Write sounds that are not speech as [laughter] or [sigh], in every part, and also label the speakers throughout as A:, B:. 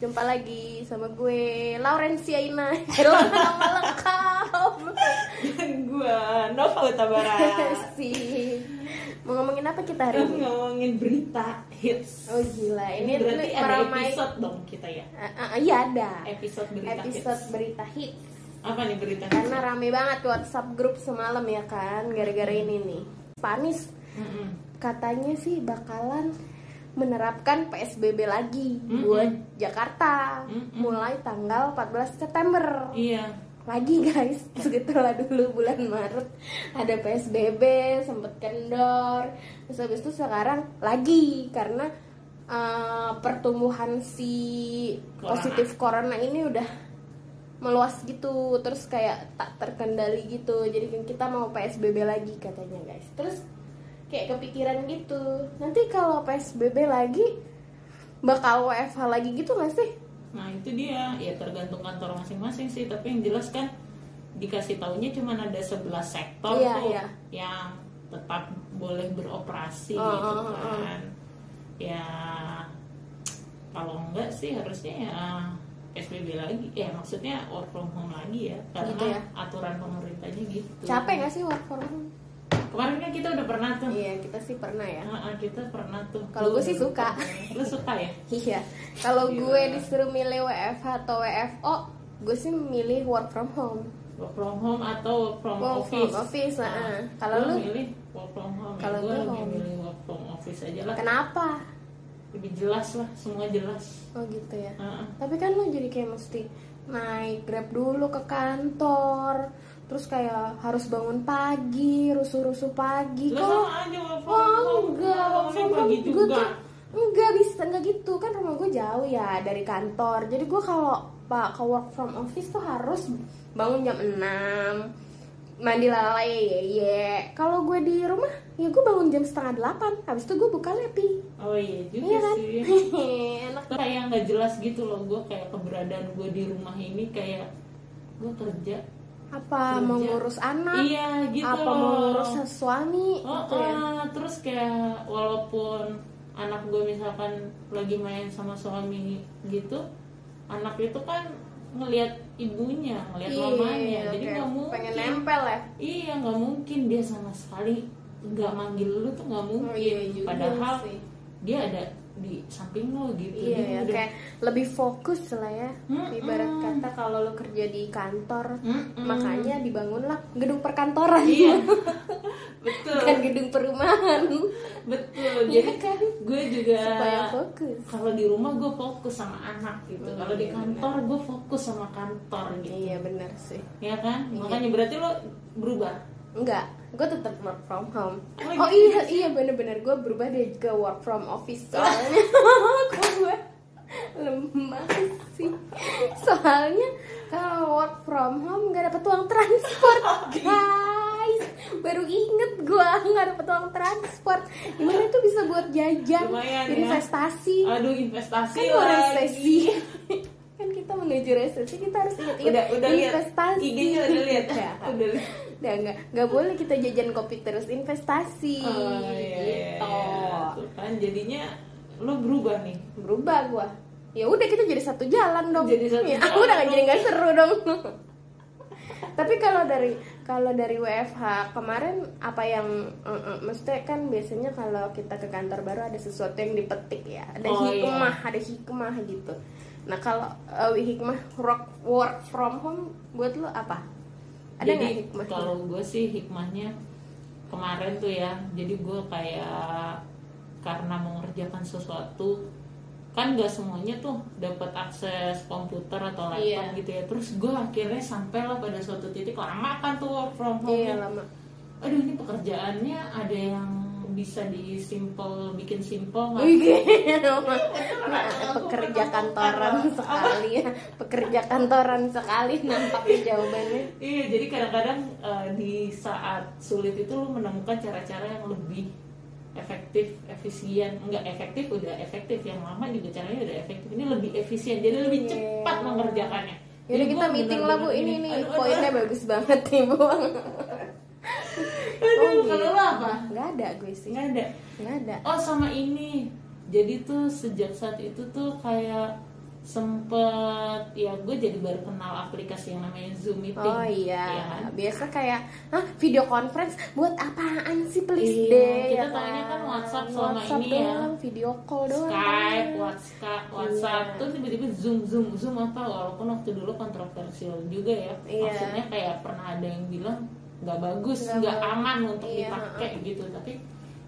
A: Jumpa lagi sama gue Laurencia Ina.
B: [laughs]
A: Hello nama lengkap.
B: dan [laughs] gue Nova
A: [laughs]
B: Utabara
A: Sih. Mau ngomongin apa kita hari ini?
B: ngomongin berita hits
A: Oh gila, ini,
B: berarti
A: ini
B: ada
A: ramai.
B: episode dong kita ya
A: Ah, ah, ah, Iya ada.
B: episode berita
A: Episode
B: hits
A: berita hits.
B: apa nih berita hits
A: Karena rame banget WhatsApp grup semalam ya kan, gara-gara ini nih. Panis
B: Mm-mm.
A: katanya sih bakalan menerapkan PSBB lagi
B: Mm-mm.
A: buat Jakarta
B: Mm-mm.
A: mulai tanggal 14 September.
B: iya
A: lagi guys [laughs] segitulah dulu bulan Maret ada PSBB sempet kendor terus habis itu sekarang lagi karena eh, pertumbuhan si
B: Corona.
A: positif corona ini udah meluas gitu terus kayak tak terkendali gitu jadi kan kita mau PSBB lagi katanya guys terus kayak kepikiran gitu nanti kalau PSBB lagi bakal WFH lagi gitu gak sih
B: nah itu dia ya tergantung kantor masing-masing sih tapi yang jelas kan dikasih taunya cuma ada 11 sektor
A: Iya,
B: tuh
A: iya.
B: yang tetap boleh beroperasi
A: Oh,
B: gitu
A: oh, oh, oh.
B: kan ya kalau enggak sih harusnya ya PSBB lagi ya maksudnya work from home lagi ya karena
A: Gitu ya.
B: aturan pemerintahnya gitu
A: capek gak sih work from home?
B: kemarin kan kita udah pernah tuh
A: iya kita sih pernah ya
B: Ah, ah, kita pernah tuh
A: Kalau
B: Lu-
A: gue sih suka.
B: lu suka ya
A: Iya, kalau
B: Iya.
A: gue disuruh milih WFH atau WFO, gue sih milih work from home.
B: work from home atau work from
A: Work from
B: office.
A: office,
B: Nah,
A: heeh. Kalau
B: gua
A: lu?
B: milih work from home.
A: Kalau
B: gue
A: gua
B: lebih
A: home.
B: milih work from office aja lah.
A: Kenapa?
B: Lebih jelas lah, semua jelas.
A: Oh gitu ya.
B: Heeh.
A: Tapi kan lo jadi kayak mesti naik grab dulu ke kantor, terus kayak harus bangun pagi, rusuh-rusuh pagi.
B: Lu
A: Kalau
B: sama aja work from
A: oh
B: home.
A: enggak,
B: Work from home pagi
A: gue
B: juga.
A: tuh enggak bisa enggak gitu kan rumah gue jauh ya dari kantor. Jadi gue kalau pak ke work from office tuh harus bangun jam 6 mandi lalai ye ye. Kalau gue di rumah ya gue bangun jam setengah delapan. Habis itu gue buka lepi.
B: Oh iya juga
A: Iya kan?
B: sih.
A: Enak.
B: Tuh kayak nggak jelas gitu loh gue kayak keberadaan gue di rumah ini kayak gue kerja
A: Apa
B: Kerja.
A: mengurus anak?
B: iya gitu
A: apa
B: loh.
A: mau ngurus suami
B: Oh,
A: gitu ya.
B: ah, terus kayak walaupun anak gue misalkan lagi main sama suami gitu, anak itu kan ngelihat ibunya, ngelihat mamanya,
A: Iya,
B: jadi
A: kayak
B: nggak mungkin.
A: pengen nempel ya
B: Iya, nggak mungkin dia sama sekali nggak manggil lu tuh nggak mungkin.
A: Oh, iya juga
B: Padahal
A: sih.
B: dia ada di samping lu gitu.
A: iya
B: Dia
A: ya,
B: udah-
A: kayak lebih fokus lah ya
B: Mm-mm.
A: ibarat kata kalau lo kerja di kantor
B: Mm-mm.
A: makanya dibangunlah gedung perkantoran [laughs]
B: Iya. betul, Eh,
A: bukan gedung perumahan
B: betul.
A: Iya
B: Jadi
A: kan
B: gue juga
A: supaya fokus
B: kalau di rumah gue fokus sama anak gitu
A: Hmm,
B: kalau di
A: iya
B: kantor gue fokus sama kantor gitu
A: iya benar sih
B: ya kan
A: Iya.
B: makanya berarti lo berubah
A: enggak gue tetap work from home
B: Oh,
A: oh iya iya bener-bener gue berubah dia juga work from
B: [laughs]
A: office soalnya gue lemah sih soalnya kalau work from home nggak dapet uang
B: [laughs]
A: transport guys baru inget gue nggak dapet uang transport gimana itu bisa buat jajan
B: Lumayan ya.
A: investasi
B: aduh investasi
A: kan mau resesi [laughs] kan kita menuju resesi kita harus
B: udah
A: inget-inget
B: udah lihat
A: investasi
B: IG-nya udah lihat ya
A: [laughs] Ya.
B: udah lihat
A: Udah nggak nggak boleh kita jajan kopi terus investasi
B: oh, iya, iya,
A: gitu.
B: iya. Tuh kan jadinya lo berubah nih
A: Berubah gua. Ya udah kita jadi satu jalan dong.
B: Jadi satu
A: ya,
B: jalan
A: udah nggak jadi
B: dong.
A: nggak seru dong. [laughs] Tapi kalau dari kalau dari WFH kemarin apa yang eh, eh, mestinya kan biasanya kalau kita ke kantor baru ada sesuatu yang dipetik ya. Ada
B: Oh, iya.
A: hikmah, ada hikmah gitu. Nah, kalau eh, hikmah work, work from home buat lo apa? Ada
B: jadi
A: nggak hikmah?
B: kalau gue sih hikmahnya kemarin tuh ya jadi gue kayak karena mengerjakan sesuatu kan gak semuanya tuh dapat akses komputer atau laptop
A: Iya.
B: gitu ya terus gue akhirnya sampailah pada suatu titik lama kan tuh work from home
A: Iya,
B: ya.
A: lama.
B: aduh ini pekerjaannya ada yang bisa di simple bikin simple nggak?
A: Iya. Wih, Roma. Nah, [laughs] pekerja kantoran sekali ya pekerja kantoran sekali nampaknya jawabannya
B: Iya, jadi kadang-kadang eh, di saat sulit itu lu menemukan cara-cara yang lebih efektif, efisien. Enggak efektif udah efektif, yang lama juga caranya udah efektif. Ini lebih efisien, jadi lebih
A: Iya.
B: cepat mengerjakannya.
A: Yaudah
B: Jadi
A: kita
B: gua
A: meeting lah bu
B: bener-bener
A: ini
B: gini,
A: nih
B: aduh, aduh,
A: poinnya bagus banget nih
B: [laughs]
A: bu
B: aduh,
A: Oh, gitu.
B: kalau lu apa?
A: nggak ada gue sih
B: Enggak ada.
A: nggak ada
B: Oh sama ini. Jadi tuh sejak saat itu tuh kayak sempet ya gue jadi baru kenal aplikasi yang namanya Zoom meeting
A: Oh iya,
B: ya kan?
A: biasa kayak Hah, video conference buat apaan sih please
B: Iya,
A: deh
B: kita
A: ya
B: taunya kan WhatsApp selama
A: WhatsApp
B: ini ya.
A: doang, video call doang
B: Skype, WhatsApp, WhatsApp,
A: Iya.
B: terus tiba-tiba Zoom, Zoom, Zoom apa? Walaupun waktu dulu kontroversial juga ya.
A: Iya.
B: Maksudnya kayak pernah ada yang bilang nggak bagus,
A: Nggak
B: nggak
A: bagus.
B: aman untuk
A: Iya,
B: dipakai gitu. Tapi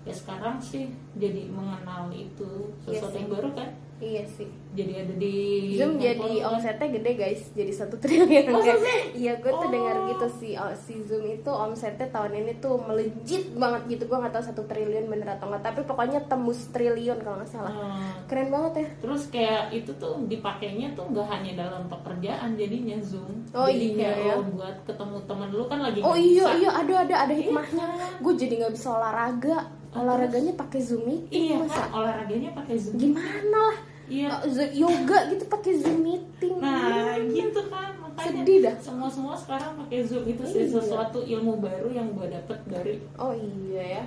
B: ya sekarang sih jadi mengenal itu
A: Iya
B: sesuatu
A: sih.
B: yang baru kan.
A: Iya sih
B: Jadi ada di
A: Zoom jadi
B: handphone kan.
A: omsetnya gede guys, jadi satu [laughs] triliun
B: Masa
A: guys.
B: sih?
A: Iya, gue tuh
B: Oh.
A: dengar gitu sih, oh, si Zoom itu omsetnya tahun ini tuh melejit banget gitu. Gue nggak tahu satu triliun bener atau nggak, tapi pokoknya tembus triliun kalau nggak salah.
B: Nah,
A: Keren banget ya.
B: terus kayak itu tuh dipakainya tuh nggak hanya dalam pekerjaan jadinya Zoom.
A: Oh iya,
B: jadi kayak
A: ya.
B: lo buat ketemu temen lu kan lagi
A: Oh
B: nggak
A: iya
B: bisa.
A: iya, ada ada ada hikmahnya.
B: kan?
A: Gue jadi nggak bisa olahraga, olahraganya pakai Zoom meeting.
B: Oh, Iya
A: Masa
B: kan olahraganya pakai Zoom.
A: gimana lah?
B: Iya.
A: Oh, zo- yoga gitu pakai Zoom meeting.
B: Nah, gitu kan makanya
A: Oh, iya. Sedih dah.
B: semua semua sekarang pakai Zoom itu sih
A: Iya.
B: sesuatu ilmu baru yang gue dapet dari
A: Oh iya ya.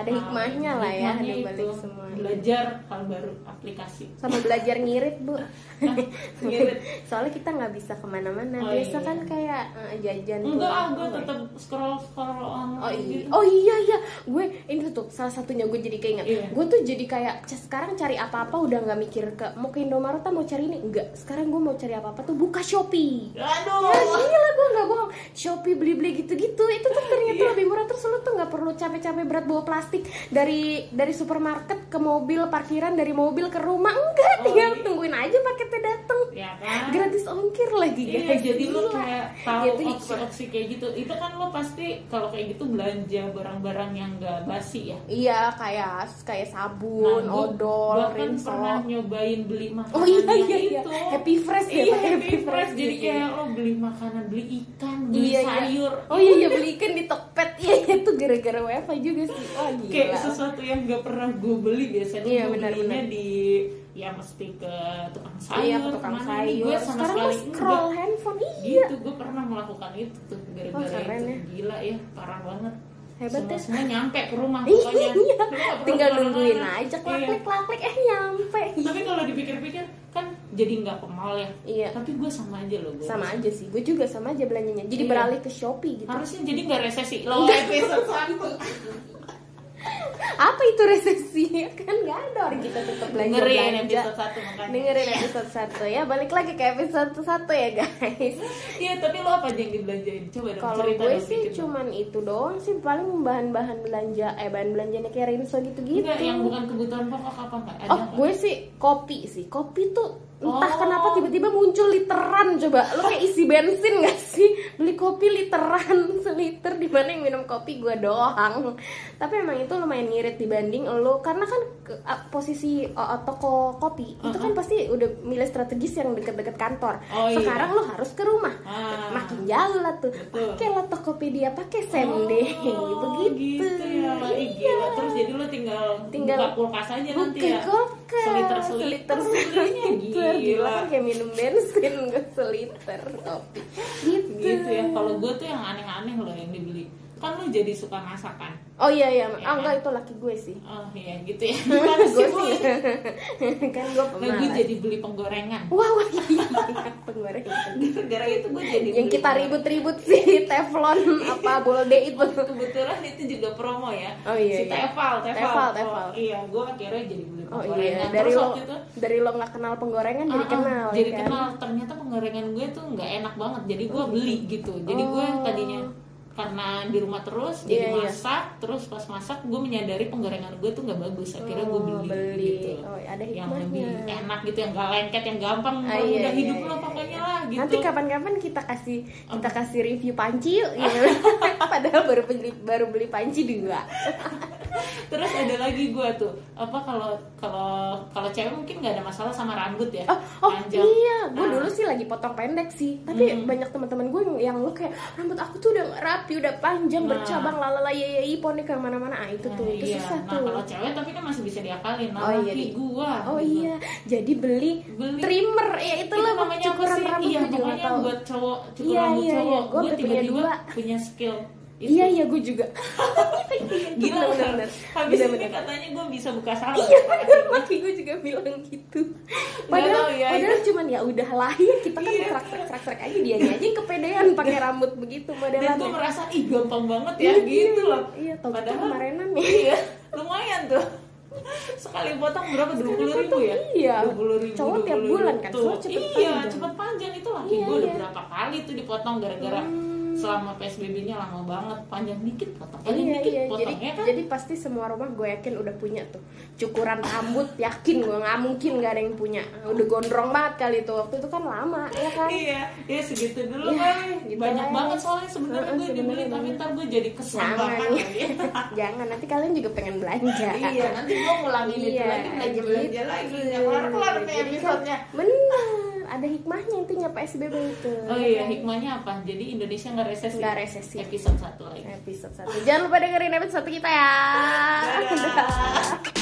A: Ada
B: uh,
A: hikmahnya lah ya, ada
B: hikmahnya
A: balik
B: itu.
A: semua.
B: Belajar hal baru aplikasi.
A: sama belajar ngirit bu
B: [laughs] Ngirit.
A: soalnya kita nggak bisa kemana-mana
B: Oh,
A: biasa
B: iya.
A: kan kayak eh, jajan
B: Enggak, ah,
A: doang.
B: gue tetap scroll scroll online
A: Oh iya,
B: gitu.
A: oh iya iya, gue ini tuh salah satunya gue jadi keinget.
B: Iya.
A: Gue tuh jadi kayak "C- sekarang cari apa-apa udah nggak mikir ke mau ke Indomaret ah, mau cari ini enggak. Sekarang gue mau cari apa-apa tuh buka Shopee.
B: Aduh.
A: Ya gila gue nggak bohong. Shopee beli-beli gitu-gitu itu tuh ternyata
B: Iya.
A: lebih murah terus lu tuh nggak perlu capek-capek berat bawa plastik dari dari supermarket ke mobil parkiran dari mobil ke rumah enggak
B: Oh,
A: tinggal
B: iya.
A: tungguin aja paketnya dateng
B: Ya kan?
A: gratis ongkir lagi
B: Iya,
A: guys.
B: jadi lu
A: Gila. iya,
B: kayak tahu
A: Itu hikmah.
B: opsi-opsi kayak gitu. Itu kan lo pasti kalau kayak gitu belanja barang-barang yang gak basi ya.
A: iya kayak kayak sabun
B: Nah, gua-
A: odol
B: gua kan
A: rinso
B: pernah nyobain beli makanan
A: oh iya
B: yang
A: iya iya
B: itu
A: happy fresh ya
B: iya
A: pakai
B: happy fresh jadi
A: gitu.
B: kayak lo beli makanan beli ikan beli
A: Iya, iya.
B: sayur
A: oh iya iya beli ikan di Tokped iya iya itu gara-gara wifi juga sih oh gila
B: kayak sesuatu yang gak pernah gue beli biasanya
A: Iya,
B: gue
A: benar,
B: belinya
A: benar.
B: di ya mesti ke tukang sayur
A: Iya, ke tukang
B: kemana nih,
A: sayur.
B: gue sama
A: Sekarang lu
B: sekali
A: scroll
B: enggak.
A: handphone, iya.
B: gitu gue pernah melakukan itu tuh gara-gara
A: Oh, keren
B: itu
A: ya.
B: gila ya parah banget
A: Hebat
B: semua,
A: ya.
B: semua nyampe ke rumah pokoknya
A: Iya,
B: Lu nggak perlu
A: tinggal
B: kemana-mana.
A: nungguin aja
B: Iya.
A: klaklik klaklik eh nyampe.
B: tapi kalau dipikir-pikir kan jadi nggak ke mall ya
A: Iya.
B: tapi gue sama aja loh gue
A: Sama aja sih, gue juga sama aja belanjanya. Jadi
B: Iya.
A: beralih ke Shopee gitu.
B: harusnya jadi nggak resesi lo episode satu
A: Apa itu resesi? [laughs] Kan nggak ada orang kita tetap [laughs] belanja
B: dengerin
A: belanja.
B: episode satu makanya
A: Dengerin episode satu ya, balik lagi ke episode satu ya guys.
B: iya tapi lo apa aja yang dibelanjain coba dong
A: Kalau
B: cerita
A: gue
B: dong
A: sih
B: dikit dong.
A: cuman itu doang sih paling bahan-bahan belanja, eh bahan belanjanya kayak rinso gitu-gitu.
B: Enggak, yang bukan kebutuhan pokok apa nggak ada
A: Oh, gue sih kopi sih. Kopi tuh entah
B: Oh.
A: kenapa tiba-tiba muncul literan coba. Lu kayak isi bensin gak sih? Beli kopi literan [laughs] seliter di mana yang minum kopi gue doang. Tapi emang itu lumayan ngirit dibanding lo karena kan ke- a- posisi uh, toko kopi itu kan pasti udah milih strategis yang deket-deket kantor.
B: Uh-huh. Oh, iya.
A: Sekarang lo harus ke rumah.
B: Ah.
A: Makin jauh lah tuh.
B: Betul.
A: Pakailah Tokopedia, pakai sendeh begitu. Iya.
B: gitu ya Ih, gila terus jadi lo tinggal,
A: Tinggal
B: buka kulkas aja nanti
A: Buka
B: ya
A: kulkas
B: seliter seliter
A: seliter
B: gila,
A: Gila kan kayak minum bensin [laughs] gue seliter kopi Gitu,
B: gitu ya kalau gue tuh yang aneh-aneh loh yang dibeli kan lo jadi suka masakan
A: Oh iya iya
B: Ya
A: Ah
B: kan?
A: enggak itu laki gue sih [laughs]
B: oh iya gitu ya gimana
A: Gue
B: sih Bu?
A: sih Kan gue
B: nah gue
A: pemalas
B: jadi beli penggorengan
A: Wah wah iya iya, penggorengan.
B: gara-gara itu gue jadi
A: Yang
B: beli
A: kita
B: penggorengan.
A: ribut-ribut sih [laughs] Teflon apa bolde itu
B: kebetulan itu juga promo ya
A: Oh, iya,
B: si
A: iya.
B: Tefal Tefal,
A: Tefal, Tefal.
B: Oh, iya gue akhirnya jadi beli
A: Oh
B: penggorengan
A: iya
B: terus
A: dari lo
B: waktu itu
A: dari lo nggak kenal penggorengan jadi
B: ah, ah,
A: kenal
B: jadi
A: ya kan?
B: kenal ternyata penggorengan gue tuh nggak enak banget jadi gue beli gitu jadi gue
A: Oh.
B: tadinya karena di rumah terus
A: Iya,
B: jadi
A: iya.
B: masak terus pas masak gue menyadari penggorengan gue tuh nggak bagus akhirnya gue
A: Oh,
B: beli,
A: beli.
B: gitu
A: Oh, ada
B: yang
A: hikmahnya.
B: lebih enak gitu yang gak lengket yang gampang
A: Ah,
B: udah
A: iya, iya,
B: hidup
A: iya,
B: lo
A: iya.
B: pokoknya lah gitu
A: Nanti kapan-kapan kita kasih kita kasih review panci yuk. gitu. [laughs] Padahal baru beli baru beli panci dua.
B: terus ada lagi gue tuh apa kalau kalau kalau cewek mungkin nggak ada masalah sama rambut ya
A: Oh, oh
B: panjang.
A: iya, gue
B: Ah,
A: dulu sih lagi potong pendek sih. Tapi
B: Hmm.
A: banyak teman-teman gue yang- yang lo kayak rambut aku tuh udah nggak rapi, udah panjang
B: Nah.
A: bercabang lalala yeyei poni ke mana-mana. Ah itu
B: nah,
A: tuh, itu
B: iya.
A: susah
B: nah
A: tuh.
B: kalau cewek tapi kan masih bisa diakalin nah
A: Oh, iya,
B: laki
A: di-
B: gua
A: Oh
B: gitu.
A: iya, jadi beli,
B: Beli.
A: trimmer ya itulah
B: Itu namanya apa
A: cukuran
B: sih?
A: rambut
B: iya,
A: gue juga nggak
B: pokoknya
A: tahu.
B: buat cowok cukur
A: Iya,
B: rambut
A: iya, iya.
B: cowok
A: Gua
B: gue
A: udah punya
B: tiba-tiba
A: dua.
B: punya skill itu. [laughs]
A: Iya iya gue juga. Tapi
B: Gila
A: iya. Bener,
B: kan?
A: bener.
B: Habis
A: Bener,
B: ini
A: [laughs] bener.
B: katanya gue bisa buka salon.
A: Iya bener, maki gue juga bilang gitu Padahal,
B: tahu ya,
A: padahal cuman ya udah lahir [laughs] Kita kan
B: Iya.
A: cerak-cerak aja Dia aja yang kepedean pakai rambut begitu
B: Dan
A: modelan
B: gue
A: ya.
B: merasa ih gampang banget ya
A: Iya,
B: gitu
A: iya,
B: loh.
A: Iya, tau kita
B: Padahal-
A: kemarinan ya
B: [laughs] Iya, lumayan tuh. Sekali potong berapa? Dua puluh ribu ya?
A: Iya.
B: Dua puluh ribu.
A: Cowok tiap bulan kan,
B: Tuh.
A: soalnya cepet
B: iya,
A: panjang.
B: cepet panjang itu laki
A: Iya,
B: gue udah
A: iya.
B: berapa kali tuh dipotong gara-gara
A: Hmm.
B: selama PSBB-nya lama banget, panjang dikit potong, panjang
A: Iya,
B: dikit
A: iya. Jadi,
B: potongnya kan.
A: jadi pasti semua rumah gue yakin udah punya tuh cukuran rambut yakin gue nggak mungkin gak ada yang punya udah gondrong banget kali itu waktu itu kan lama ya kan
B: Iya, ya segitu dulu
A: Iya,
B: kan.
A: gitu
B: banyak
A: lah.
B: banget soalnya sebenarnya
A: Heeh,
B: gue dibeli
A: sebenarnya iya.
B: tapi
A: banyak.
B: ntar gue jadi kesel
A: Jangan.
B: banget.
A: [laughs] jangan nanti kalian juga pengen belanja
B: ya. Iya, nanti gue ngulangin itu
A: Iya,
B: lagi belanja belanja
A: gitu.
B: lagi, nggak kelar kelar nih
A: Jadi kan-
B: episode-nya.
A: bener ada hikmahnya intinya PSBB itu
B: Oh iya, hikmahnya apa? Jadi Indonesia nggak
A: kan
B: resesi.
A: Nggak resesi.
B: Episode satu lagi.
A: episode satu jangan lupa dengerin episode kita ya
B: Dadah.